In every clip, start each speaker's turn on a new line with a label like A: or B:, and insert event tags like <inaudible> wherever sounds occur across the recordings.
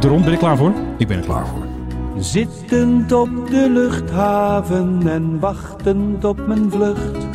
A: Doron, ben je klaar voor?
B: Ik ben er klaar voor.
C: Zittend op de luchthaven en wachtend op mijn vlucht.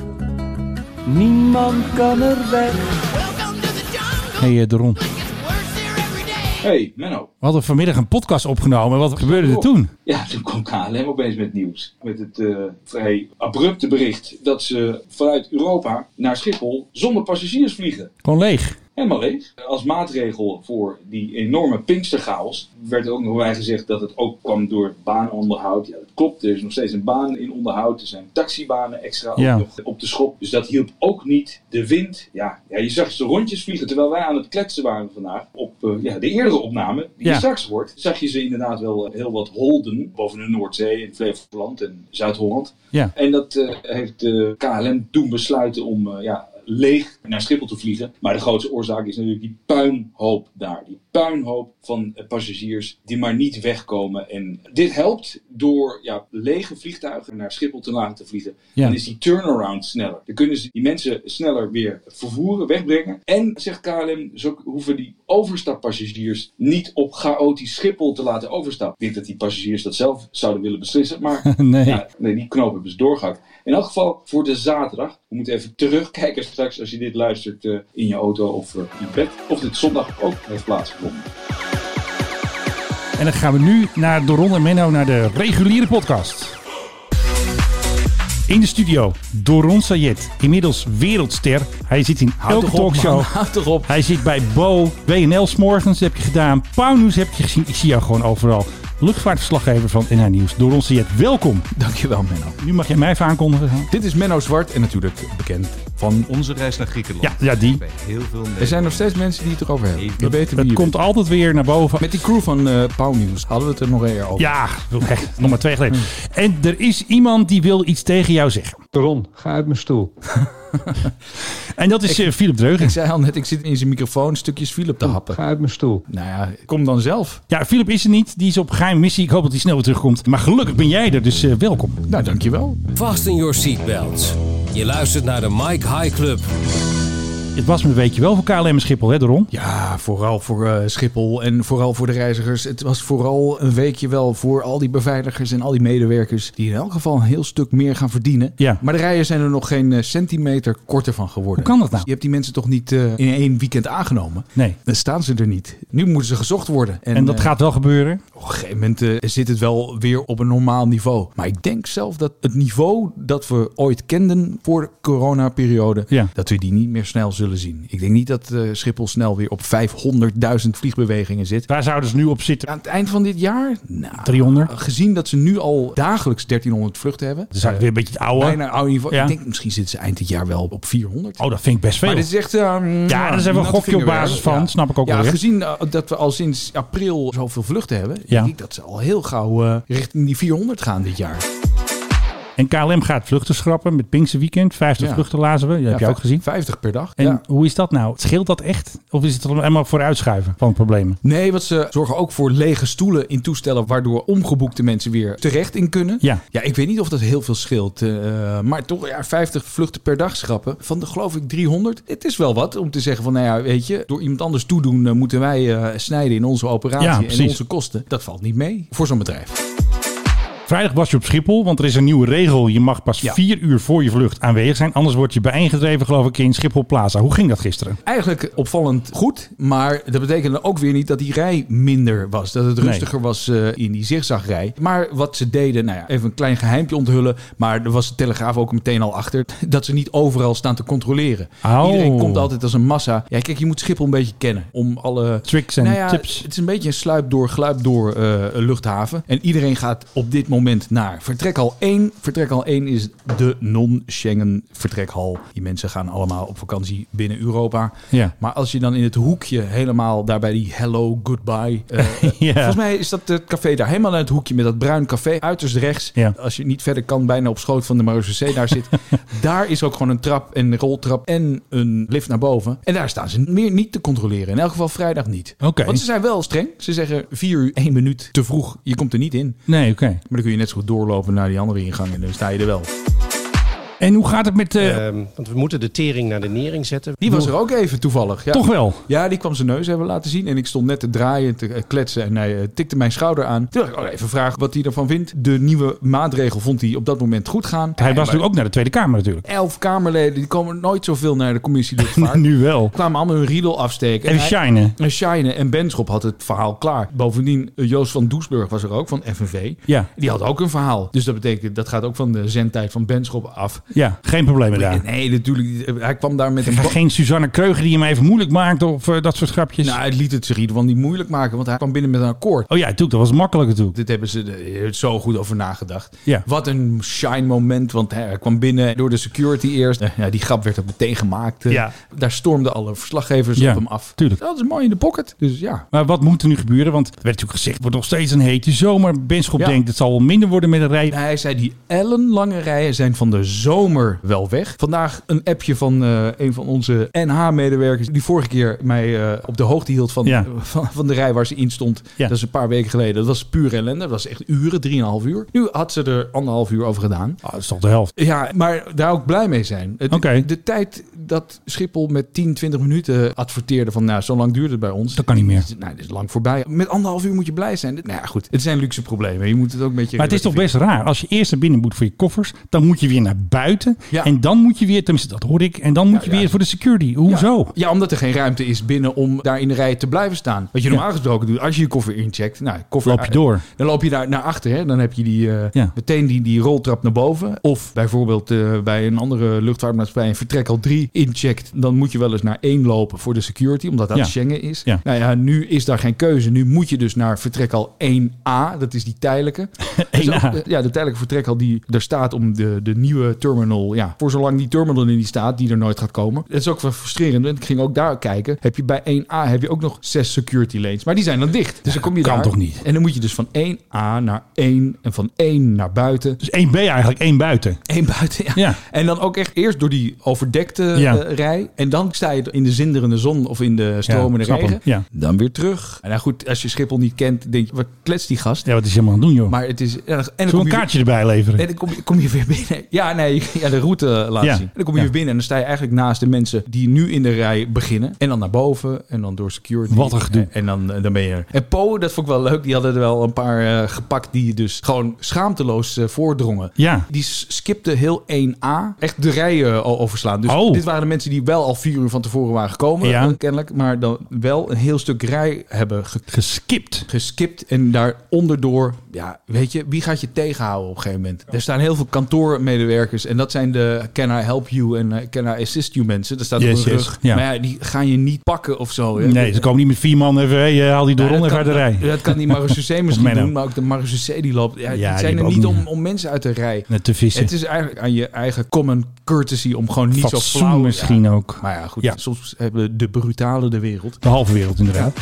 C: Niemand kan er weg.
D: Welcome to the jungle.
A: Hey eh, Doron,
D: It gets worse here every day.
E: Hey, Menno.
A: we hadden vanmiddag een podcast opgenomen. Wat gebeurde er toen?
E: Ja, toen kwam KLM opeens met nieuws. Met het eh, vrij abrupte bericht dat ze vanuit Europa naar Schiphol zonder passagiers vliegen.
A: Gewoon leeg.
E: Helemaal leeg. Als maatregel voor die enorme Pinksterchaos werd ook nog bij gezegd dat het ook kwam door baanonderhoud. Ja, dat klopt. Er is nog steeds een baan in onderhoud. Er zijn taxibanen extra ook
A: Ja.
E: nog op de schop. Dus dat hielp ook niet. De wind. Ja, ja je zag ze rondjes vliegen terwijl wij aan het kletsen waren vandaag. Op eh, ja, de eerdere opname die
A: Ja.
E: je straks hoort, zag je ze inderdaad wel eh, heel wat holden boven de Noordzee en Flevoland en Zuid-Holland.
A: Ja.
E: En dat eh, heeft de KLM toen besluiten om eh, ja, leeg naar Schiphol te vliegen. Maar de grootste oorzaak is natuurlijk die puinhoop daar. Die puinhoop van eh, passagiers die maar niet wegkomen. En dit helpt door ja, lege vliegtuigen naar Schiphol te laten vliegen.
A: Ja.
E: Dan is die turnaround sneller. Dan kunnen ze die mensen sneller weer vervoeren, wegbrengen. En, zegt KLM, zo hoeven die overstappassagiers niet op chaotisch Schiphol te laten overstappen. Ik denk dat die passagiers dat zelf zouden willen
A: <laughs>
E: beslissen, maar
A: Nee.
E: ja, nee, die knoop hebben ze doorgehakt. In elk geval voor de zaterdag. We moeten even terugkijken straks als je dit luistert eh, in je auto of eh, in bed. Of dit zondag ook heeft plaatsgevonden.
A: En dan gaan we nu naar Doron en Menno naar de reguliere podcast. In de studio, Doron Sayed, inmiddels wereldster. Hij zit in
B: Houd
A: elke
B: toch op, man.
A: talkshow.
B: <laughs> Houd toch op.
A: Hij zit bij Bo, WNL's morgens heb je gedaan, Pauwnieuws heb je gezien. Ik zie jou gewoon overal. Luchtvaartverslaggever van NH Nieuws, Doron Sayed, welkom.
B: Dankjewel, Menno.
A: Nu mag jij mij even aankondigen.
B: Dit is Menno Zwart en natuurlijk bekend van...
F: Onze reis naar Griekenland.
A: Ja, ja die.
F: Bij heel veel
B: Er
F: Nederlanders.
B: zijn nog steeds mensen die het erover hebben. We weten wie
A: Het
B: je
A: komt altijd weer naar boven.
B: bent. Met die crew van eh Pauw Nieuws hadden we het er nog eerder over.
A: Ja, nog maar twee geleden. En er is iemand die wil iets tegen jou zeggen.
C: Ron, ga uit mijn stoel.
A: En dat is eh, Philip Dreugen.
B: Ik zei al net, ik zit in zijn microfoon stukjes Philip te happen.
C: Ga uit mijn stoel.
B: Nou ja, kom dan zelf.
A: Ja, Philip is er niet. Die is op geheim missie. Ik hoop dat hij snel weer terugkomt. Maar gelukkig ben jij er, dus eh, welkom.
B: Nou, dankjewel.
G: Fasten your seatbelts. Je luistert naar de Mike High Club.
A: Het was me een weekje wel voor KLM en Schiphol, hè, Doron?
B: Ja, vooral voor eh, Schiphol en vooral voor de reizigers. Het was vooral een weekje wel voor al die beveiligers en al die medewerkers... die in elk geval een heel stuk meer gaan verdienen.
A: Ja.
B: Maar de rijen zijn er nog geen eh, centimeter korter van geworden.
A: Hoe kan dat nou?
B: Je hebt die mensen toch niet eh, in één weekend aangenomen?
A: Nee.
B: Dan staan ze er niet. Nu moeten ze gezocht worden.
A: En dat
B: eh,
A: gaat wel gebeuren.
B: Op een gegeven moment eh, zit het wel weer op een normaal niveau. Maar ik denk zelf dat het niveau dat we ooit kenden voor de coronaperiode,
A: Ja.
B: dat we die niet meer snel zullen zien. Ik denk niet dat eh, Schiphol snel weer op 500.000 vliegbewegingen zit.
A: Waar zouden ze nu op zitten?
B: Aan het eind van dit jaar, nou,
A: 300.
B: gezien dat ze nu al dagelijks 1300 vluchten hebben,
A: Dan zijn we weer een beetje het oude.
B: bijna oude niveau.
A: Ja.
B: Ik denk misschien zitten ze eind dit jaar wel op 400.
A: Oh, dat vind ik best veel.
B: Maar dit is echt... eh, mm,
A: Ja, daar zijn we een gokje
B: natte
A: op
B: vingerwerk.
A: basis van,
B: Ja.
A: snap ik ook
B: ja,
A: wel weer.
B: Gezien eh, dat we al sinds april zoveel vluchten hebben,
A: Ja.
B: denk ik dat ze al heel gauw eh, richting die 400 gaan dit jaar.
A: En KLM gaat vluchten schrappen met Pinkse Weekend. 50
B: Ja.
A: vluchten lazen we. Dat heb je
B: Ja,
A: ook gezien.
B: 50 per dag.
A: En
B: ja.
A: hoe is dat nou? Scheelt dat echt? Of is het er helemaal voor uitschuiven van problemen?
B: Nee, want ze zorgen ook voor lege stoelen in toestellen, waardoor omgeboekte mensen weer terecht in kunnen.
A: Ja.
B: ja ik weet niet of dat heel veel scheelt. eh, maar toch, ja, 50 vluchten per dag schrappen van de geloof ik 300. Het is wel wat om te zeggen van, nou ja, weet je, door iemand anders toedoen eh, moeten wij eh, snijden in onze
A: Ja,
B: operatie en
A: precies.
B: onze kosten. Dat valt niet mee voor zo'n bedrijf.
A: Vrijdag was je op Schiphol, want er is een nieuwe regel. Je mag pas
B: Ja.
A: vier uur voor je vlucht aanwezig zijn. Anders word je bijeengedreven, geloof ik, in Schiphol Plaza. Hoe ging dat gisteren?
B: Eigenlijk opvallend goed, maar dat betekende ook weer niet dat die rij minder was. Dat het
A: Nee.
B: rustiger was eh, in die zigzagrij. Maar wat ze deden, nou ja, even een klein geheimpje onthullen. Maar er was de Telegraaf ook meteen al achter. <laughs> Dat ze niet overal staan te controleren.
A: Oh.
B: Iedereen komt altijd als een massa. Ja, kijk, je moet Schiphol een beetje kennen. Om alle
A: Tricks en
B: nou ja,
A: tips.
B: Het is een beetje een sluip door, gluip door eh, luchthaven. En iedereen gaat op dit moment naar vertrekhal 1. Vertrekhal 1 is de non-Schengen vertrekhal. Die mensen gaan allemaal op vakantie binnen Europa.
A: Ja.
B: Maar als je dan in het hoekje helemaal daar bij die hello, goodbye.
A: <laughs>
B: eh,
A: Ja.
B: Volgens mij is dat het café daar helemaal in het hoekje met dat bruin café uiterst rechts.
A: Ja.
B: Als je niet verder kan, bijna op schoot van de Marseillais daar
A: <laughs>
B: zit. daar is ook gewoon een trap en een roltrap en een lift naar boven. En daar staan ze meer niet te controleren. In elk geval vrijdag niet.
A: Oké.
B: Want ze zijn wel streng. Ze zeggen 4 uur 1 minuut te vroeg. Je komt er niet in.
A: Nee, oké.
B: Maar dan kun je net zo goed doorlopen naar die andere ingang en dan sta je er wel.
A: En hoe gaat het met... eh,
F: Ehm, want we moeten de tering naar de nering zetten.
B: Die was er ook even toevallig. Ja.
A: Toch wel.
B: Ja, die kwam zijn neus hebben laten zien. En ik stond net te draaien, te eh, kletsen. En hij eh, tikte mijn schouder aan. Toen dacht ik, oh, even vragen wat hij ervan vindt. De nieuwe maatregel vond hij op dat moment goed gaan.
A: Hij was
B: maar
A: natuurlijk ook naar de Tweede Kamer
B: <laughs>
A: natuurlijk.
B: Elf Kamerleden, die komen nooit zoveel naar de
A: <laughs>
B: commissie luchtvaart.
A: nu wel.
B: kwamen allemaal hun riedel afsteken.
A: En
B: hij-
A: shinen.
B: en Shine en Benschop had het verhaal klaar. Bovendien, eh, Joost van Doesburg was er ook, van FNV.
A: Ja.
B: Die had ook een verhaal. Dus dat betekent, dat gaat ook van de zendtijd van Benschop af.
A: Ja, geen problemen daar.
B: Nee, natuurlijk. Hij kwam daar met een...
A: Maar <laughs> Geen Suzanne Kreugen die hem even moeilijk maakt of eh, dat soort grapjes.
B: Nou, hij liet het zich in ieder geval niet moeilijk maken, want hij kwam binnen met een akkoord.
A: Oh ja, natuurlijk, dat was makkelijker toe.
B: Dit hebben ze er zo goed over nagedacht.
A: Ja.
B: Wat een shine moment, want hij kwam binnen door de security eerst. Eh, Ja, die grap werd ook meteen gemaakt. Eh,
A: Ja.
B: Daar stormden alle verslaggevers
A: Ja,
B: op hem af.
A: tuurlijk.
B: Dat is mooi in de pocket. Dus ja.
A: Maar wat moet er nu gebeuren? Want er werd natuurlijk gezegd, het wordt nog steeds een hete zomer. Benschop
B: Ja.
A: denkt, het zal wel minder worden met de rij. Ah,
B: Hij zei, die ellenlange rijen zijn van de zomer wel weg. Vandaag een appje van eh, een van onze NH-medewerkers... die vorige keer mij eh, op de hoogte hield van, eh,
A: Ja.
B: van, van de rij waar ze in stond.
A: Ja.
B: Dat is een paar weken geleden. Dat was puur ellende. Dat was echt uren, drieënhalf uur. Nu had ze er anderhalf uur over gedaan.
A: Ah, dat is toch de helft.
B: Ja, maar daar ook blij mee zijn. Het-
A: Oké.
B: De tijd dat Schiphol met 10, 20 minuten adverteerde van... nou, zo lang duurt het bij ons.
A: Dat kan niet meer.
B: Nou, dat is lang voorbij. Met anderhalf uur moet je blij zijn. Nou ja, goed. Het zijn luxe problemen. Je moet het ook een beetje...
A: Maar het is toch
B: relativeren.
A: best raar. Als je eerst naar binnen moet voor je koffers, dan moet je weer naar buiten.
B: Ja.
A: En dan moet je weer, tenminste dat hoor ik, en dan moet
B: Ja,
A: je
B: ja.
A: weer voor de security. Hoezo?
B: Ja, ja, omdat er geen ruimte is binnen om daar in de rij te blijven staan. Wat je
A: Ja.
B: normaal gesproken doet, als je je koffer incheckt, nou, koffer
A: Loop je door.
B: Dan loop je daar naar achter. Hè? Dan heb je die, eh,
A: Ja.
B: meteen die, die roltrap naar boven. Of bijvoorbeeld eh, bij een andere luchtvaartmaatschappij, een vertrek al drie incheckt. Dan moet je wel eens naar één lopen voor de security, omdat dat
A: Ja.
B: Schengen is.
A: Ja.
B: Nou ja, nu is daar geen keuze. Nu moet je dus naar vertrek al 1A. Dat is die
A: <laughs>
B: tijdelijke. Dus ook,
A: 1A.
B: eh, ja, de tijdelijke vertrekhal die er staat om de, de nieuwe terminal. Ja, voor zolang die terminal in die staat, die er nooit gaat komen. Dat is ook wel frustrerend. Want ik ging ook daar kijken. Heb je bij 1A heb je ook nog zes security lanes. Maar die zijn dan dicht. Dus dan kom je
A: kan
B: daar.
A: toch niet?
B: En dan moet je dus van 1A naar 1 en van 1 naar buiten.
A: Dus één B eigenlijk, één buiten.
B: 1 buiten, ja.
A: Ja.
B: En dan ook echt eerst door die overdekte
A: Ja.
B: eh, rij. En dan sta je in de zinderende zon of in de stromende
A: snap hem.
B: regen.
A: Ja.
B: Dan weer terug. En nou goed, als je Schiphol niet kent, denk je, wat kletst die gast?
A: Ja, wat is hij helemaal aan het doen, joh?
B: Maar het is... En dan, en dan
A: Zullen
B: kom
A: we
B: je-
A: een kaartje erbij leveren?
B: en dan kom je, kom je weer binnen. Ja, nee, <laughs> ja, de route laten
A: Ja.
B: zien. En dan kom je
A: Ja.
B: weer binnen en dan sta je eigenlijk naast de mensen die nu in de rij beginnen. En dan naar boven en dan door security.
A: Wat een gedoe.
B: En, en dan, eh, dan ben je er. En Poe, dat vond ik wel leuk, die hadden er wel een paar eh, gepakt die dus gewoon schaamteloos eh, voordrongen.
A: Ja.
B: Die s- skipte heel 1A. Echt de rijen al overslaan. Dus
A: Oh.
B: dit waren de mensen die wel al vier uur van tevoren waren gekomen,
A: Ja.
B: eh, kennelijk. Maar dan wel een heel stuk rij hebben ge-
A: Geskipt.
B: geskipt en daar onderdoor, ja, weet je, wie gaat je tegenhouden op een gegeven moment? Er staan heel veel kantoormedewerkers en dat zijn de can I help you en eh, can I assist you mensen. Dat staat
A: Yes,
B: op hun
A: yes,
B: rug.
A: ja.
B: Maar ja, die gaan je niet pakken of zo. hè.
A: Nee, ze komen niet met vier man even, hey, eh, haal die door
B: Ja,
A: rond
B: dat
A: even uit de
B: kan-
A: rij.
B: Dat, dat kan die Marususe misschien
A: Menno.
B: doen, maar ook de Marususe die loopt. Ja,
A: Ja,
B: die
A: die
B: zijn er
A: hebben
B: niet
A: ook
B: om,
A: niet-
B: om mensen uit te rij.
A: Net te vissen.
B: Het is eigenlijk aan je eigen common courtesy om gewoon niet zo
A: Fatsoen
B: flauw... ja.
A: misschien ook.
B: Maar ja, goed.
A: Ja.
B: Soms hebben de brutale de wereld.
A: De halve wereld inderdaad.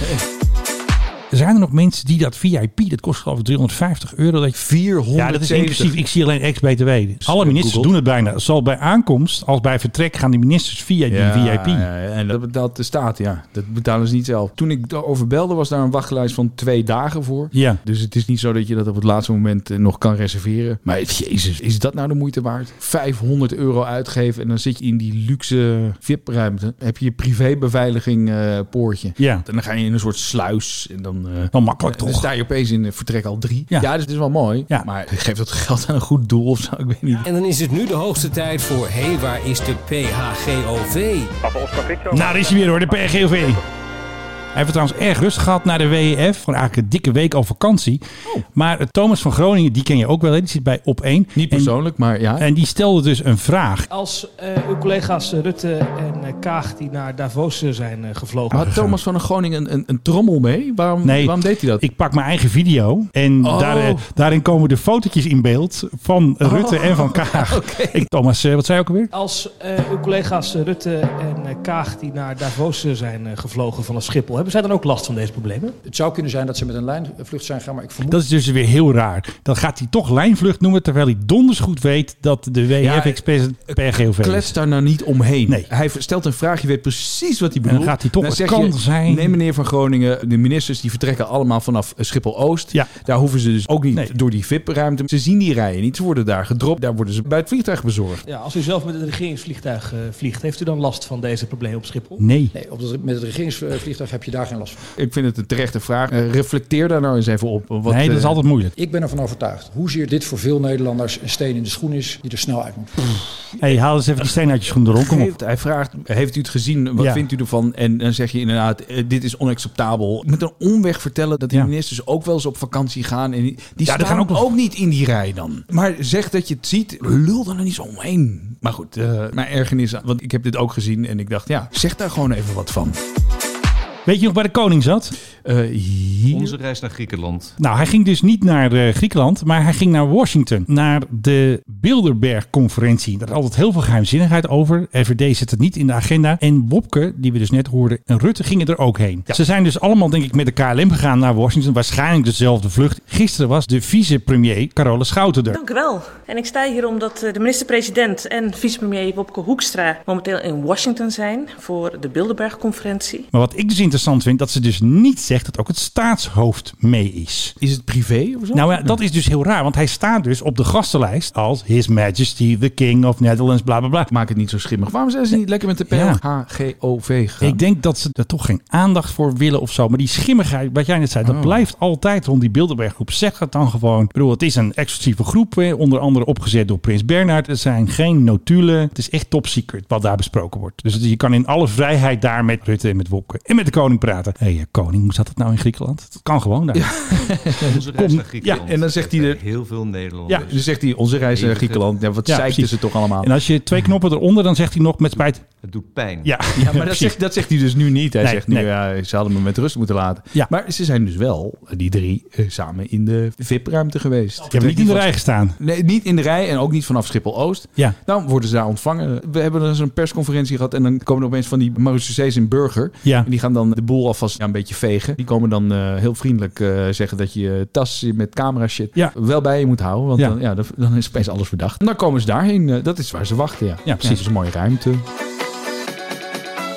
A: Zijn er nog mensen die dat VIP, dat kost geloof ik 350 euro. Dat je
B: 400
A: Ja, dat is inclusief. Ik zie alleen ex-BTW. Alle ministers
B: Googled.
A: doen het bijna. Zowel bij aankomst als bij vertrek gaan die ministers via die VIP.
B: ja, ja, en dat betaalt de staat, ja. Dat betalen ze niet zelf. Toen ik daarover belde, was daar een wachtlijst van twee dagen voor.
A: Ja.
B: Dus het is niet zo dat je dat op het laatste moment eh, nog kan reserveren. Maar jezus, is dat nou de moeite waard? 500 euro uitgeven en dan zit je in die luxe VIP-ruimte. Heb je je privébeveiliging eh, poortje.
A: Ja.
B: En dan ga je in een soort sluis en dan... eh,
A: Nou, makkelijk
B: dan
A: toch?
B: sta je opeens in eh, vertrek al drie. Ja,
A: Ja.
B: dus het is wel mooi.
A: Ja.
B: Maar geef dat geld aan een goed doel of zo. Ik weet niet.
G: En dan is het nu de hoogste tijd voor Hé, hey, waar is de PHGOV?
A: Nou, daar is hij weer hoor, de PGOV. Hij heeft het trouwens erg rustig gehad naar de WEF. Gewoon eigenlijk een dikke week al vakantie.
B: Oh.
A: Maar eh, Thomas van Groningen, die ken je ook wel. Hè? Die zit bij op één.
B: Niet persoonlijk, maar ja.
A: En, en die stelde dus een vraag.
H: Als eh, uw collega's Rutte en eh, Kaag die naar Davos eh, zijn eh, gevlogen.
B: Had Thomas van der Groningen een, een, een trommel mee? Waarom,
A: Nee.
B: waarom deed hij dat?
A: Ik pak mijn eigen video en
B: Oh.
A: daar, eh, daarin komen de fotootjes in beeld van Rutte en van
B: <laughs>
A: Kaag. Ik, Thomas, eh, wat zei je ook alweer?
H: Als eh, uw collega's Rutte en eh, Kaag die naar Davos eh, zijn eh, gevlogen vanaf Schiphol. Hebben Hebben zij dan ook last van deze problemen?
I: Het zou kunnen zijn dat ze met een lijnvlucht zijn gegaan, maar ik vermoed...
A: Dat is dus weer heel raar. Dan gaat hij toch lijnvlucht noemen, terwijl hij donders goed weet dat de WF
B: Ja,
A: Express het PRGOV is.
B: Klets daar nou niet omheen.
A: Nee.
B: Hij stelt een vraag, je weet precies wat hij bedoelt.
A: gaat hij toch, het
B: zeg
A: kan
B: je,
A: zijn.
B: Nee, meneer van Groningen, de ministers die vertrekken allemaal vanaf Schiphol-Oost.
A: Ja.
B: Daar hoeven ze dus ook niet
A: Nee.
B: door die VIP-ruimte. Ze zien die rijen niet, ze worden daar gedropt. Daar worden ze bij het vliegtuig bezorgd.
H: Ja, als u zelf met een regeringsvliegtuig eh, vliegt, heeft u dan last van deze problemen op Schiphol?
A: Nee.
I: Nee, op het, met het regeringsvliegtuig heb je daar geen last van.
B: Ik vind het een terechte vraag. Eh, reflecteer daar nou eens even op. Wat,
A: nee, dat is
B: eh,
A: altijd moeilijk.
I: Ik ben ervan overtuigd. Hoezeer dit voor veel Nederlanders een steen in de schoen is die er snel uit moet.
A: hey, haal eens even die steen uit je schoen erom.
B: <laughs>
A: Kom op.
B: Geeft- hij vraagt, heeft u het gezien? Wat
A: Ja.
B: vindt u ervan? En dan zeg je inderdaad, eh, dit is onacceptabel. Met een omweg vertellen dat die
A: Ja.
B: ministers ook wel eens op vakantie gaan. En die die
A: Ja, die
B: staan
A: gaan ook
B: ook,
A: wel-
B: niet in die rij dan. Maar zeg dat je het ziet, lul dan er niet zo omheen. Maar goed, eh, mijn ergernis, want ik heb dit ook gezien en ik dacht, ja, zeg daar gewoon even wat van.
A: Weet je nog waar de koning zat?
B: Eh, hier-
J: reis naar Griekenland.
A: Nou, hij ging dus niet naar eh, Griekenland, maar hij ging naar Washington. Naar de Bilderberg-conferentie. Daar is altijd heel veel geheimzinnigheid over. RVD zit het niet in de agenda. En Wopke, die we dus net hoorden, en Rutte gingen er ook heen. Ze zijn dus allemaal, denk ik, met de KLM gegaan naar Washington. Waarschijnlijk dezelfde vlucht. Gisteren was de vicepremier Carola Schouten er.
K: Dank u wel. En ik sta hier omdat eh, de minister-president en vicepremier Wopke Hoekstra momenteel in Washington zijn voor de Bilderberg-conferentie.
A: Maar wat ik dus interessant vind, dat ze dus niet zegt dat ook het staatshoofd mee is.
B: Is het privé of zo?
A: Nou ja, dat is dus heel raar, want hij staat dus op de gastenlijst als His Majesty the King of Netherlands, bla bla bla.
B: Maak het niet zo schimmig. Waarom zijn ze niet lekker met de
A: Ja.
B: PHGOV gegaan?
A: Ik denk dat ze er toch geen aandacht voor willen of zo. Maar die schimmigheid, wat jij net zei, dat
B: Oh.
A: blijft altijd rond die Bilderberggroep. Zeg het dan gewoon. Ik bedoel, het is een exclusieve groep, eh, onder andere opgezet door Prins Bernhard. Er zijn geen notulen. Het is echt top secret wat daar besproken wordt. Dus je kan in alle vrijheid daar met Rutte en met Wopke en met de koning praten. Hé, eh, koning, hoe zat dat nou in Griekenland? Dat kan gewoon daar.
J: Onze reis naar Griekenland.
B: ja, en dan zegt hij er-
J: Heel veel
B: ja,
J: Nederlanders.
B: dus zegt hij, onze reis naar Griekenland. Ja, wat
A: Ja,
B: zeiken
A: precies.
B: ze toch allemaal?
A: En als je twee knoppen eronder, dan zegt hij nog met spijt.
J: Het doet pijn.
A: Ja,
B: Ja, maar dat zegt, dat zegt hij dus nu niet. Hij
A: Nee,
B: zegt nu,
A: nee.
B: ja, ze hadden me met rust moeten laten.
A: Ja.
B: Maar ze zijn dus wel, die drie, eh, samen in de VIP-ruimte geweest.
A: Je hebt niet in de rij gestaan.
B: Nee, niet in de rij en ook niet vanaf Schiphol-Oost.
A: Ja.
B: Dan worden ze daar ontvangen. We hebben dus een persconferentie gehad en dan komen er opeens van die Mauritius in Burger.
A: Ja.
B: En die gaan dan de boel alvast ja, een beetje vegen. Die komen dan eh, heel vriendelijk eh, zeggen dat je je tas met camera shit
A: Ja.
B: wel bij je moet houden. Want
A: Ja.
B: Dan, ja, dan, dan is opeens alles verdacht. En dan komen ze daarheen. eh, dat is waar ze wachten, ja.
A: precies.
B: dat is een mooie ruimte.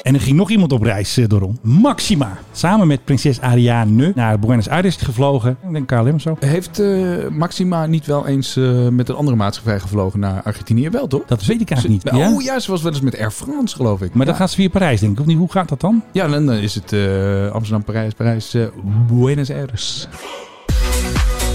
A: En er ging nog iemand op reis eh, door om. Maxima. Samen met prinses Ariane naar Buenos Aires gevlogen. Ik denk KLM of zo.
B: Heeft eh, Maxima niet wel eens eh, met een andere maatschappij gevlogen naar Argentinië? Wel, toch?
A: Dat weet ik eigenlijk
B: Ze-
A: niet. Ja?
B: Oh ja, ze was wel eens met Air France, geloof ik.
A: Maar dan
B: ja.
A: gaan ze via Parijs, denk ik. Of niet? Hoe gaat dat dan?
B: Ja, dan eh, is het eh, Amsterdam, Parijs, Parijs, eh, Buenos Aires.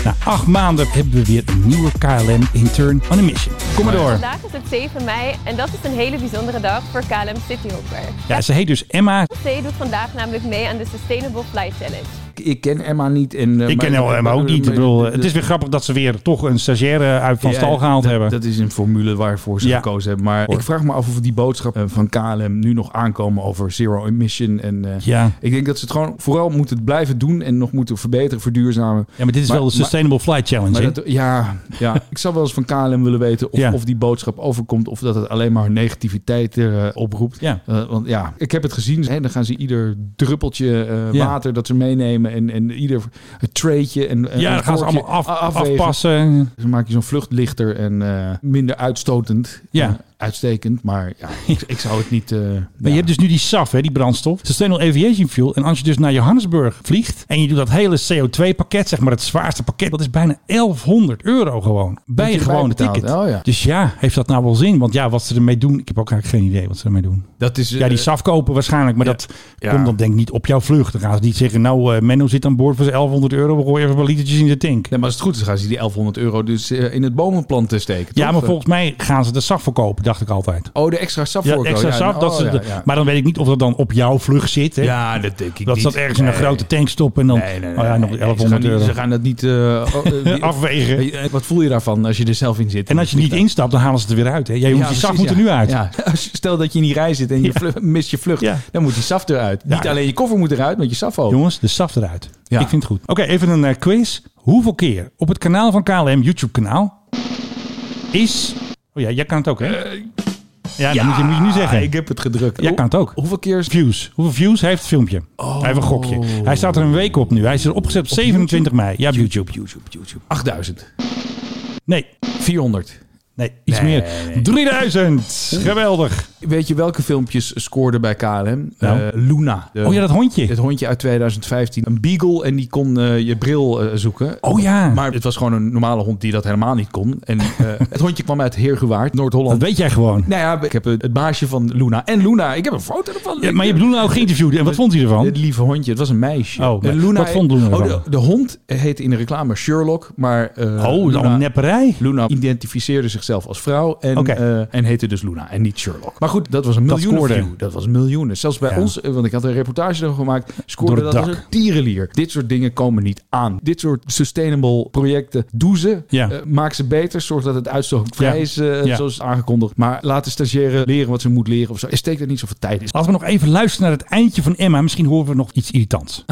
A: Na acht maanden hebben we weer een nieuwe KLM intern on a mission. Kom maar door.
K: Vandaag is het 7 mei en dat is een hele bijzondere dag voor KLM City Hopper.
A: Ja, ze heet dus Emma.
K: C doet vandaag namelijk mee aan de Sustainable Flight Challenge.
B: Ik, ik ken Emma niet. En, eh,
A: Ik
B: maar-
A: ken Emma ook niet. Ik bedoel, eh, het is weer grappig dat ze weer toch een stagiaire uit van
B: Ja,
A: stal gehaald
B: dat-
A: hebben.
B: Dat is een formule waarvoor ze
A: Ja.
B: gekozen hebben. Maar ik vraag me af of die boodschappen van KLM nu nog aankomen over zero emission. En, eh,
A: Ja.
B: Ik denk dat ze het gewoon vooral moeten blijven doen en nog moeten verbeteren, verduurzamen.
A: ja, maar dit is
B: Maar-
A: wel de
B: maar-
A: Sustainable Flight Challenge.
B: Maar
A: hè?
B: dat, ja,
A: <laughs>
B: ja, ik zou wel eens van KLM willen weten of,
A: Ja.
B: of die boodschap overkomt of dat het alleen maar negativiteit eh, oproept.
A: Ja.
B: Eh, want ja, ik heb het gezien. Hè, dan gaan ze ieder druppeltje eh,
A: Ja.
B: water dat ze meenemen en, en ieder treetje en en
A: ja,
B: een
A: dan gaan ze
B: vorkje
A: allemaal af,
B: a- afwegen.
A: afpassen.
B: Dus dan maak je zo'n vlucht lichter en eh, minder uitstotend.
A: Ja.
B: Eh, uitstekend, maar ja, ik, ik zou het niet... eh,
A: Maar
B: ja.
A: je hebt dus nu die SAF, hè, die brandstof. Sustainable Aviation Fuel. En als je dus naar Johannesburg vliegt en je doet dat hele CO2-pakket, zeg maar het zwaarste pakket, dat is bijna 1100 euro gewoon. Bij
B: je
A: je gewone
B: erbij betaalt.
A: ticket.
B: Oh ja.
A: Dus ja, heeft dat nou wel zin? Want ja, wat ze ermee doen, ik heb ook eigenlijk geen idee wat ze ermee doen.
B: dat is,
A: dus- Ja, die
B: eh,
A: SAF kopen waarschijnlijk, maar dat
B: Ja.
A: komt dan denk ik niet op jouw vlucht. Dan gaan ze niet zeggen, nou eh, Menno zit aan boord voor zijn 1100 euro, we gooien even wat litertjes in de tank.
B: Nee, maar als het goed is, gaan ze die 1100 euro dus eh, in het bomenplant eh, steken.
A: Ja,
B: toch?
A: maar volgens mij gaan ze de SAF verkopen, dacht ik altijd.
B: Oh, nou, de extra sap
A: Ja, extra SAF, dat ze de- maar dan weet ik niet of dat dan op jouw vlucht zit. Hè?
B: oh, Ja, dat denk ik
A: dat
B: niet.
A: ze dat ergens in een
B: Nee.
A: grote tank stoppen en dan
B: Nee, nee, nee,
A: oh ja, nog
B: nee, nee,
A: 1100
B: ze gaan,
A: euro.
B: niet- Ze gaan dat
A: <laughs>
B: niet eh, oh, eh, die-
A: afwegen.
B: Eh, Wat voel je daarvan als je er zelf in zit?
A: En als je niet instapt, dan halen ze het er weer uit. Hè? Jij
B: Ja,
A: moet die zak
B: precies,
A: moet er
B: ja.
A: nu uit.
B: Ja. <laughs> Als je- Stel dat je in die rij zit en je
A: Ja.
B: vlu- mist je vlucht,
A: Ja. Nou
B: dan moet die saf eruit.
A: Ja.
B: Niet alleen je koffer moet eruit, maar je saf ook.
A: Jongens, de saf eruit.
B: Ja.
A: Ik vind het goed. Oké, even een eh, quiz. Hoeveel keer op het kanaal van KLM, YouTube kanaal, is... Oh ja, jij kan het ook, hè? Ja, dat moet je, moet je nu zeggen.
B: Eh, Ik heb het gedrukt.
A: Jij kan het ook.
B: Hoeveel keer is
A: Views. Hoeveel views heeft het filmpje? Hij heeft een gokje. Hij staat er een week op nu. Hij is er opgezet op 27 mei. Ja, op YouTube.
B: YouTube, YouTube. 8000.
A: Nee,
B: 400.
A: nee, iets
B: Nee.
A: meer. 3000. Geweldig.
B: Weet je welke filmpjes scoorden bij KLM?
A: Nou.
B: Eh, Luna. De-
A: Oh ja, dat hondje.
B: Het hondje uit 2015. Een beagle en die kon eh, je bril eh, zoeken.
A: Oh ja.
B: Maar het was gewoon een normale hond die dat helemaal niet kon.
A: <laughs>
B: En eh, het hondje kwam uit Heergewaard,
A: Dat
B: Noord-Holland.
A: weet jij gewoon.
B: Nou ja, ik heb het het baasje van Luna. En Luna, ik heb een foto ervan.
A: Ja, maar je hebt Luna ook geïnterviewd. En wat vond hij ervan?
B: Het lieve hondje, het was een meisje.
A: Oh,
B: En
A: wat vond Luna
B: oh,
A: ervan?
B: de, de hond heette in de reclame Sherlock, maar eh,
A: Oh, dan
B: Luna,
A: een nepperij.
B: Luna identificeerde zichzelf als vrouw en,
A: Oké.
B: eh, en heette dus Luna en niet Sherlock. Maar goed, dat was een
A: Dat
B: miljoenen
A: scoorde.
B: view. Dat was miljoenen. Zelfs bij
A: Ja.
B: ons, eh, want ik had een reportage erover gemaakt, scoorde
A: Door
B: dat
A: het
B: als
A: dak.
B: een tierenlier. Dit soort dingen komen niet aan. Dit soort sustainable projecten, doe ze.
A: Ja.
B: Eh, maak ze beter. Zorg dat het uitstootvrij
A: Ja.
B: is, eh,
A: Ja.
B: zoals aangekondigd. Maar laat de stagiaire leren wat ze moet leren of zo. En steek er niet zoveel tijd in. <laughs>
A: Laten we nog even luisteren naar het eindje van Emma. Misschien horen we nog iets irritants.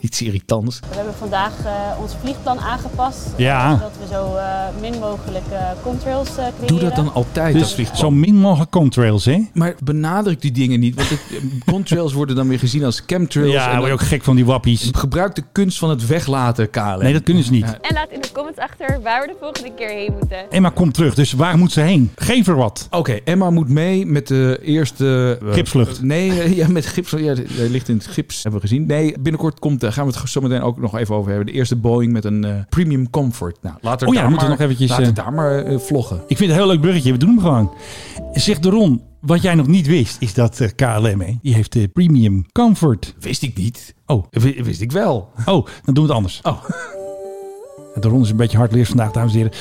B: Iets irritants.
L: We hebben vandaag eh, ons vliegplan aangepast. eh,
A: Ja.
L: Zodat we zo eh, min mogelijk eh, contrails eh, creëren.
B: Doe dat dan altijd, dat
A: Dus
B: vliegtuig.
A: zo min mogelijk contrails, hè?
B: Maar benadruk die dingen niet. Want het, eh, <laughs> contrails worden dan weer gezien als chemtrails.
A: Ja,
B: en
A: word je
B: dan-
A: ook gek van die wappies.
B: Gebruik de kunst van het weglaten, KLM.
A: Nee, dat kunnen ze niet.
M: En laat in de comments achter waar we de volgende keer heen moeten.
A: Emma komt terug, dus waar moet ze heen? Geef er wat.
B: Oké, Emma moet mee met de eerste... eh,
A: Gipsvlucht.
B: eh, nee, <laughs> eh, ja, met gips. Ja, hij ligt in het gips, hebben we gezien. Nee, binnenkort komt, daar gaan we het zo meteen ook nog even over hebben. De eerste Boeing met een eh, premium comfort. Nou, laten we
A: Oh ja,
B: daar
A: moeten we
B: maar-
A: nog eventjes,
B: Laten we
A: eh,
B: daar maar eh, vloggen.
A: Ik vind het een heel leuk bruggetje, we doen hem gewoon. Zegt de Ron, wat jij nog niet wist, is dat eh, KLM, hè, die heeft de premium comfort.
B: Wist ik niet.
A: Oh,
B: W- wist ik wel.
A: oh, dan doen we het anders. <laughs>
B: Oh.
A: De Ron is een beetje hardleers vandaag, dames en heren.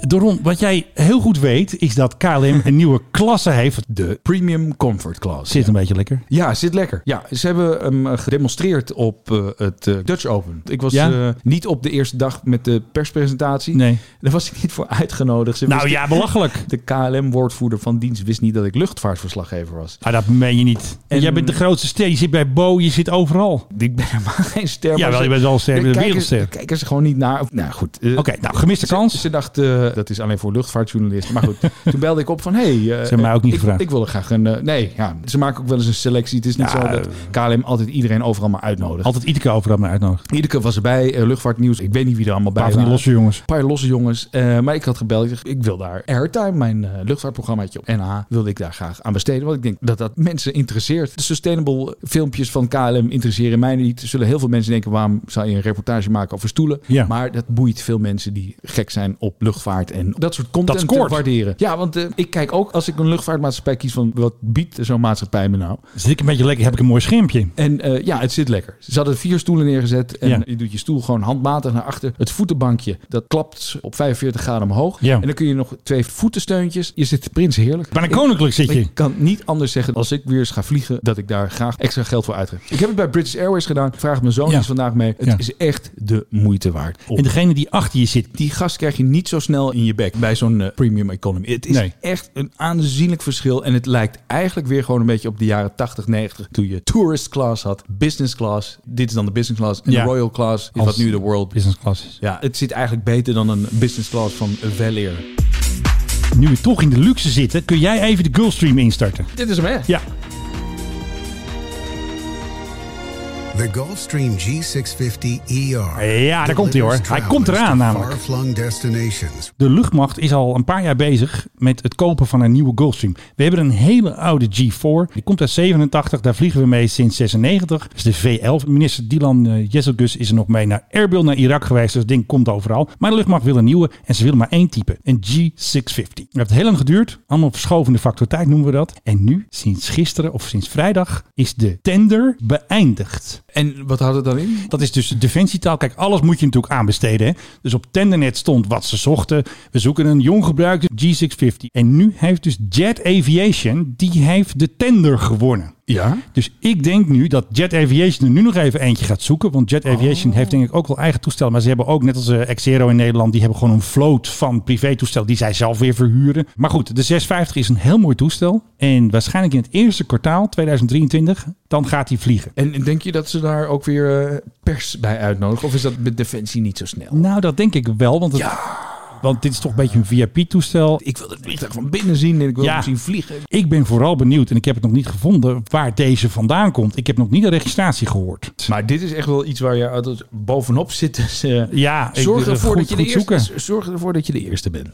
A: De Ron, wat jij heel goed weet, is dat KLM een nieuwe klasse heeft.
B: De premium comfort class.
A: Zit een beetje lekker.
B: Ja, zit lekker. Ja, ze hebben hem eh, gedemonstreerd op eh, het eh, Dutch Open. Ik was
A: Ja?
B: eh, niet op de eerste dag met de perspresentatie.
A: Nee.
B: Daar was ik niet voor uitgenodigd. Ze
A: Nou
B: wisten-
A: ja, belachelijk.
B: De KLM-woordvoerder van dienst wist niet dat ik luchtvaartverslaggever was.
A: Ah, dat meen je niet.
B: En-
A: Jij bent de grootste ster, je zit bij Bo, je zit overal.
B: Ik ben helemaal <laughs> geen ster.
A: Ja,
B: maar
A: wel,
B: ze-
A: je bent wel een ster, je
B: de
A: bent een
B: kijkers-
A: wereldster.
B: de kijkers er gewoon niet naar. Nou goed. eh,
A: Oké, nou, gemiste
B: ze- Ze,
A: kans.
B: dacht, eh, dat is alleen voor luchtvaartjournalisten. Maar goed,
A: <laughs>
B: toen belde ik op van, hey, eh,
A: hebben mij ook niet
B: ik,
A: gevraagd.
B: Ik wil er graag een... eh, nee, ja, ze maken ook wel eens een selectie. Het is niet
A: Ja, eh.
B: zo dat KLM altijd iedereen overal maar uitnodigt.
A: Altijd Iteke overal maar uitnodigt. Een
B: Iedeke was erbij, eh, luchtvaartnieuws. Ik weet niet wie er allemaal bij
A: paar
B: was.
A: van die losse jongens.
B: Een paar losse jongens. Eh, maar ik had gebeld. Ik, zeg, ik wil daar Airtime, mijn eh, luchtvaartprogrammaatje op NH, wilde ik daar graag aan besteden. Want ik denk dat dat mensen interesseert. De sustainable filmpjes van KLM interesseren mij niet. Er zullen heel veel mensen denken, waarom zou je een reportage maken over stoelen?
A: Ja.
B: Maar dat boeit veel mensen die gek zijn op luchtvaart en dat soort content te
A: scoort.
B: waarderen. Ja, want eh, ik kijk ook als ik een luchtvaartmaatschappij kies van wat biedt zo'n maatschappij me nou?
A: Zit ik een beetje lekker, heb ik een mooi schermpje.
B: En eh, ja, het zit lekker. Ze hadden vier stoelen neergezet. En
A: Ja.
B: je doet je stoel gewoon handmatig naar achter. Het voetenbankje, dat klapt op 45 graden omhoog.
A: Ja.
B: En dan kun je nog twee voetensteuntjes. Je zit prins heerlijk.
A: Bijna koninklijk zit
B: Ik,
A: je.
B: ik kan niet anders zeggen als ik weer eens ga vliegen, dat ik daar graag extra geld voor uitgeef. Ik heb het bij British Airways gedaan. Vraag mijn zoon
A: Ja.
B: eens vandaag mee. Het
A: Ja.
B: is echt de moeite waard. Om-
A: En degene die achter je zit,
B: die gast krijg je niet zo snel in je bek bij zo'n eh, premium economy. Het is
A: Nee.
B: echt een aanzienlijk verschil. En het lijkt eigenlijk weer gewoon een beetje op de jaren 80, 90. Toen je tourist class had, business class. Dit is dan de business class. En
A: Ja.
B: de royal class is
A: Als-
B: wat nu de world is.
A: business class is.
B: Ja, het zit eigenlijk beter dan een business class van Velair.
A: Nu we toch in de luxe zitten, kun jij even de Gulfstream instarten.
B: Dit is hem, hè?
A: Ja,
N: The Gulfstream G650 ER.
A: ja daar komt hij hoor. Hij komt eraan namelijk.
N: E Far-flung destinations.
A: De luchtmacht is al een paar jaar bezig met het kopen van een nieuwe Gulfstream. We hebben een hele oude G4. Die komt uit 87. Daar vliegen we mee sinds 96. Dat is de V11. Minister Dylan eh, Jezelgus is er nog mee naar Erbil, naar Irak geweest. Dus het ding komt overal. Maar de luchtmacht wil een nieuwe. En ze willen maar één type. Een G650. Het heeft heel lang geduurd. Allemaal verschovende factor tijd noemen we dat. En nu, sinds gisteren of sinds vrijdag, is de tender beëindigd.
B: En wat houdt het dan in?
A: Dat is dus defensietaal. Kijk, alles moet je natuurlijk aanbesteden. Hè? Dus op Tendernet stond wat ze zochten. We zoeken een jong gebruikte G650. En nu heeft dus Jet Aviation, die heeft de tender gewonnen.
B: Ja.
A: Dus ik denk nu dat Jet Aviation er nu nog even eentje gaat zoeken. Want Jet Aviation heeft denk ik ook wel eigen toestellen. Maar ze hebben ook, net als eh, Xero in Nederland, die hebben gewoon een vloot van privétoestellen die zij zelf weer verhuren. Maar goed, de 650 is een heel mooi toestel. En waarschijnlijk in het eerste kwartaal 2023, dan gaat hij vliegen.
B: En en denk je dat ze daar ook weer eh, pers bij uitnodigen? Of is dat met Defensie niet zo snel?
A: Nou, dat denk ik wel, want het Want dit is toch een beetje een VIP-toestel.
B: Ik wil het vliegtuig van binnen zien en ik wil
A: Ja.
B: hem zien vliegen.
A: Ik ben vooral benieuwd, en ik heb het nog niet gevonden, waar deze vandaan komt. Ik heb nog niet de registratie gehoord.
B: Maar dit is echt wel iets waar je uit het- bovenop zit. Dus, eh,
A: Ja, ik
B: zorg
A: wil
B: ervoor,
A: goed-
B: dat je de
A: goed
B: eerste,
A: zoeken.
B: zorg ervoor dat je de eerste bent.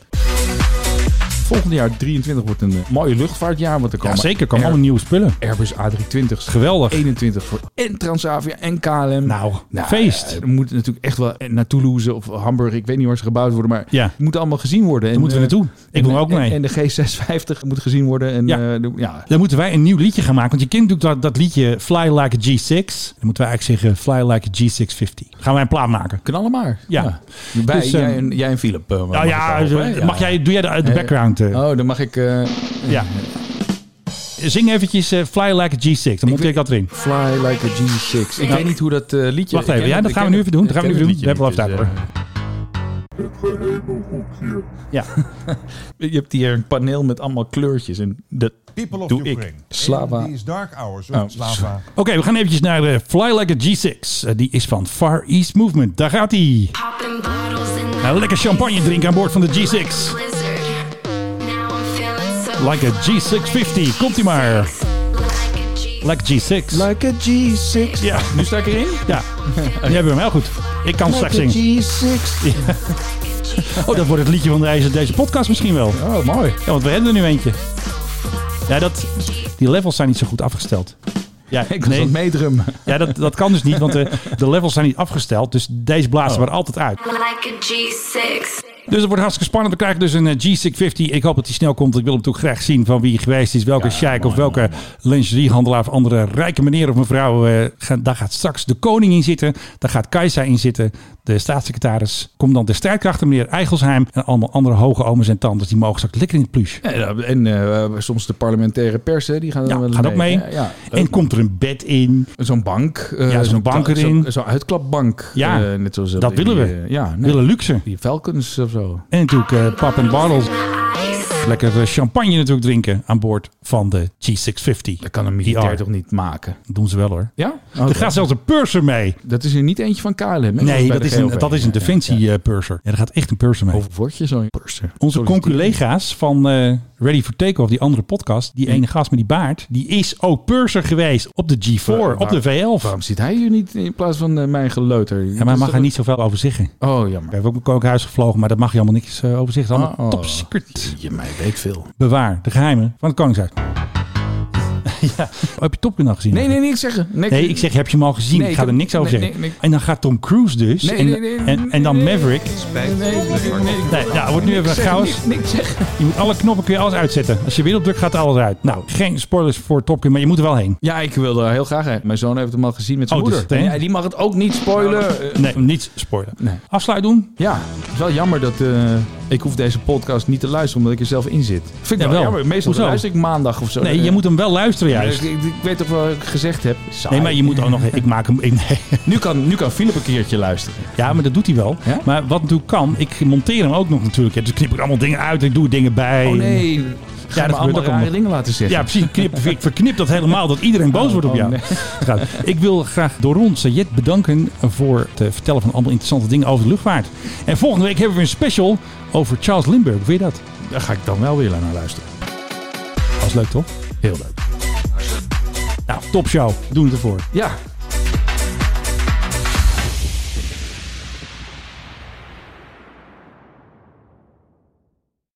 B: Volgend jaar 23 wordt een eh, mooie luchtvaartjaar. Want er
A: Ja,
B: komen
A: zeker. Kan
B: Air-
A: allemaal nieuwe spullen.
B: Airbus A320's.
A: Geweldig.
B: 21 voor en Transavia en KLM.
A: Nou,
B: Nou,
A: feest.
B: eh, Er moet natuurlijk echt wel eh, naar Toulouse of Hamburg. Ik weet niet waar ze gebouwd worden, maar
A: Ja.
B: het moet allemaal gezien worden. En,
A: moeten we
B: eh,
A: naartoe. Ik
B: en-
A: wil ook
B: en-
A: mee.
B: En de G650 moet gezien worden. En,
A: Ja.
B: ja. ja.
A: Dan moeten wij een nieuw liedje gaan maken. Want je kent natuurlijk dat, dat liedje Fly Like a G6. Dan moeten wij eigenlijk zeggen Fly Like a G650. Gaan wij een plaat maken?
B: Knallen maar.
A: Ja.
B: Wij,
A: Dus,
B: jij,
A: eh,
B: en, jij en Philip. eh, mag
A: Nou ja,
B: ik hopen, hè?
A: mag jij, doe jij de, de
B: Eh,
A: background? eh.
B: Oh, dan mag ik... eh,
A: Ja. Zing eventjes eh, Fly Like a G6. Dan monteer ik dat erin.
B: Fly like a G6. Ik
A: Nou,
B: weet niet hoe dat eh, liedje...
A: Wacht
B: ik
A: even,
B: ken
A: ja,
B: het-
A: dat
B: ik
A: gaan we
B: ken
A: nu even doen.
B: het-
A: Dat gaan we nu
B: ik ken
A: doen. We hebben wel
B: het
A: tijd
B: liedje
A: hoor.
B: niet,
A: Ja.
B: dus, eh, Je hebt hier een paneel met allemaal kleurtjes en dat
O: People of
B: doe
O: Ukraine.
B: ik. Slava.
O: These dark hours
B: Oh.
O: of Slava.
A: Oké, we gaan eventjes naar de Fly Like a G6. Eh, die is van Far East Movement. Daar gaat hij. Nou, lekker champagne drinken aan boord van de G6. Like a G650. Komt-ie maar. Like a G6.
B: Like a G6.
A: Ja.
B: Nu sta ik erin? <laughs>
A: Ja, die hebben we hem heel goed. Ik kan straks zingen.
B: G6.
A: Oh, dat wordt het liedje van deze, deze podcast misschien wel.
B: Oh, mooi.
A: Ja, want we hebben er nu eentje. Ja, dat, die levels zijn niet zo goed afgesteld. Ja,
B: <laughs> Ik was nee. aan het meedrummen.
A: ja dat, dat kan dus niet, want de, de levels zijn niet afgesteld. Dus deze
B: Oh.
A: blazen we er altijd uit.
P: Like a G6.
A: Dus het wordt hartstikke spannend. We krijgen dus een eh, G650. Ik hoop dat die snel komt. Ik wil hem toch graag zien van wie hij geweest is. Welke sheik of welke lingeriehandelaar of andere rijke meneer of mevrouw. eh, gaan- daar gaat straks de koning in zitten. Daar gaat Kajsa in zitten. De staatssecretaris. Komt dan de strijdkrachten, meneer Eigelsheim. En allemaal andere hoge omens en tantes. Die mogen straks lekker in het pluche.
B: En, eh, en eh, soms de parlementaire pers, hè, die gaan
A: Ja,
B: dan wel
A: gaat ook mee.
B: Ja, ja.
A: En komt er een bed in.
B: Zo'n bank. eh,
A: Ja, zo'n bank
B: zo'n-
A: erin.
B: Zo'n uitklapbank.
A: Ja,
B: eh, net zoals, eh,
A: dat
B: die,
A: willen we.
B: eh, ja,
A: Willen luxe.
B: Die Falcons of zo.
A: En natuurlijk eh, pap en barrels. Lekker eh, champagne natuurlijk drinken aan boord van de G650. Dat
B: kan een militair toch niet maken?
A: Doen ze wel hoor.
B: Ja?
A: er gaat zelfs een purser mee.
B: Dat is er niet eentje van KLM. hè? Dat
A: Nee,
B: bij
A: dat
B: de
A: is, een,
B: GOV.
A: dat is een
B: Ja,
A: defensie eh, purser. Ja, er gaat echt een purser mee.
B: Hoe word je zo'n purser?
A: Onze
B: Solliciteer.
A: conculega's van eh, Ready for Takeoff, die andere podcast, die ene gast met die baard, die is ook purser geweest op de G4,
B: Waar-
A: op de V11.
B: Waarom zit hij hier niet in plaats van eh, mijn geleuter?
A: Ja, maar mag er niet zoveel over zeggen.
B: Oh, jammer.
A: We hebben ook een kookhuis gevlogen, maar dat mag je allemaal niks eh, over zeggen. Het is Allemaal
B: Oh.
A: top secret.
B: Je mij weet veel.
A: Bewaar de geheimen van het Koningshuis. <laughs> ja. Oh, Heb je Top Gun al gezien?
B: Nee, nee, niks zeggen. Niks-
A: Nee, ik zeg, heb je hem al gezien?
B: Nee,
A: ik ga
B: ik-
A: er niks over
B: nee,
A: zeggen.
B: nee, nee.
A: En dan gaat Tom Cruise dus.
B: Nee,
A: en,
B: nee, nee,
A: en, en dan Maverick.
B: Nee, nee, nee, nee, nee.
A: Nee, nou, wordt nu even
B: Niks
A: een
B: zeggen,
A: chaos.
B: Niks niks zeggen.
A: Je moet alle knoppen, kun je alles uitzetten. Als je weer op drukt, gaat alles uit. Nou, geen spoilers voor Top Gun, maar je moet er wel heen.
B: Ja, ik wil er heel graag heen. Mijn zoon heeft hem al gezien met zijn
A: Oh, dus
B: moeder.
A: het-
B: ja, die mag het ook niet spoilen. Eh,
A: Nee, niets spoilen.
B: Nee.
A: Afsluit doen?
B: Ja, het is wel jammer dat eh, ik hoef deze podcast niet te luisteren omdat ik er zelf in zit. Vind ik
A: Ja, wel.
B: wel, jammer. Meestal
A: Hoezo?
B: luister ik maandag of zo. Eh,
A: Nee, je moet hem wel luisteren
B: ik,
A: juist.
B: ik, ik weet toch wat ik gezegd heb. Saai.
A: Nee, maar je moet ook nog... Ik maak hem... ik- nee.
B: Nu kan, nu kan Philip een keertje luisteren.
A: Ja, maar dat doet hij wel.
B: Ja?
A: Maar wat natuurlijk kan, ik monteer hem ook nog natuurlijk. hè. Dus knip ik allemaal dingen uit, ik doe dingen bij.
B: Oh nee, ga
A: dat
B: me allemaal
A: gebeurt ook
B: rare
A: allemaal.
B: dingen laten zeggen.
A: Ja, precies. Ik Knip, ik verknip dat helemaal, dat iedereen boos wordt op
B: oh,
A: jou.
B: nee.
A: Goed. Ik wil graag Doron Sayed bedanken voor het eh, vertellen van allemaal interessante dingen over de luchtvaart. En volgende week hebben we een special over Charles Lindbergh. Weet je dat?
B: Daar ga ik dan wel weer naar luisteren.
A: Dat is leuk, toch?
B: Heel leuk.
A: Nou, top show. We doen het ervoor.
B: Ja,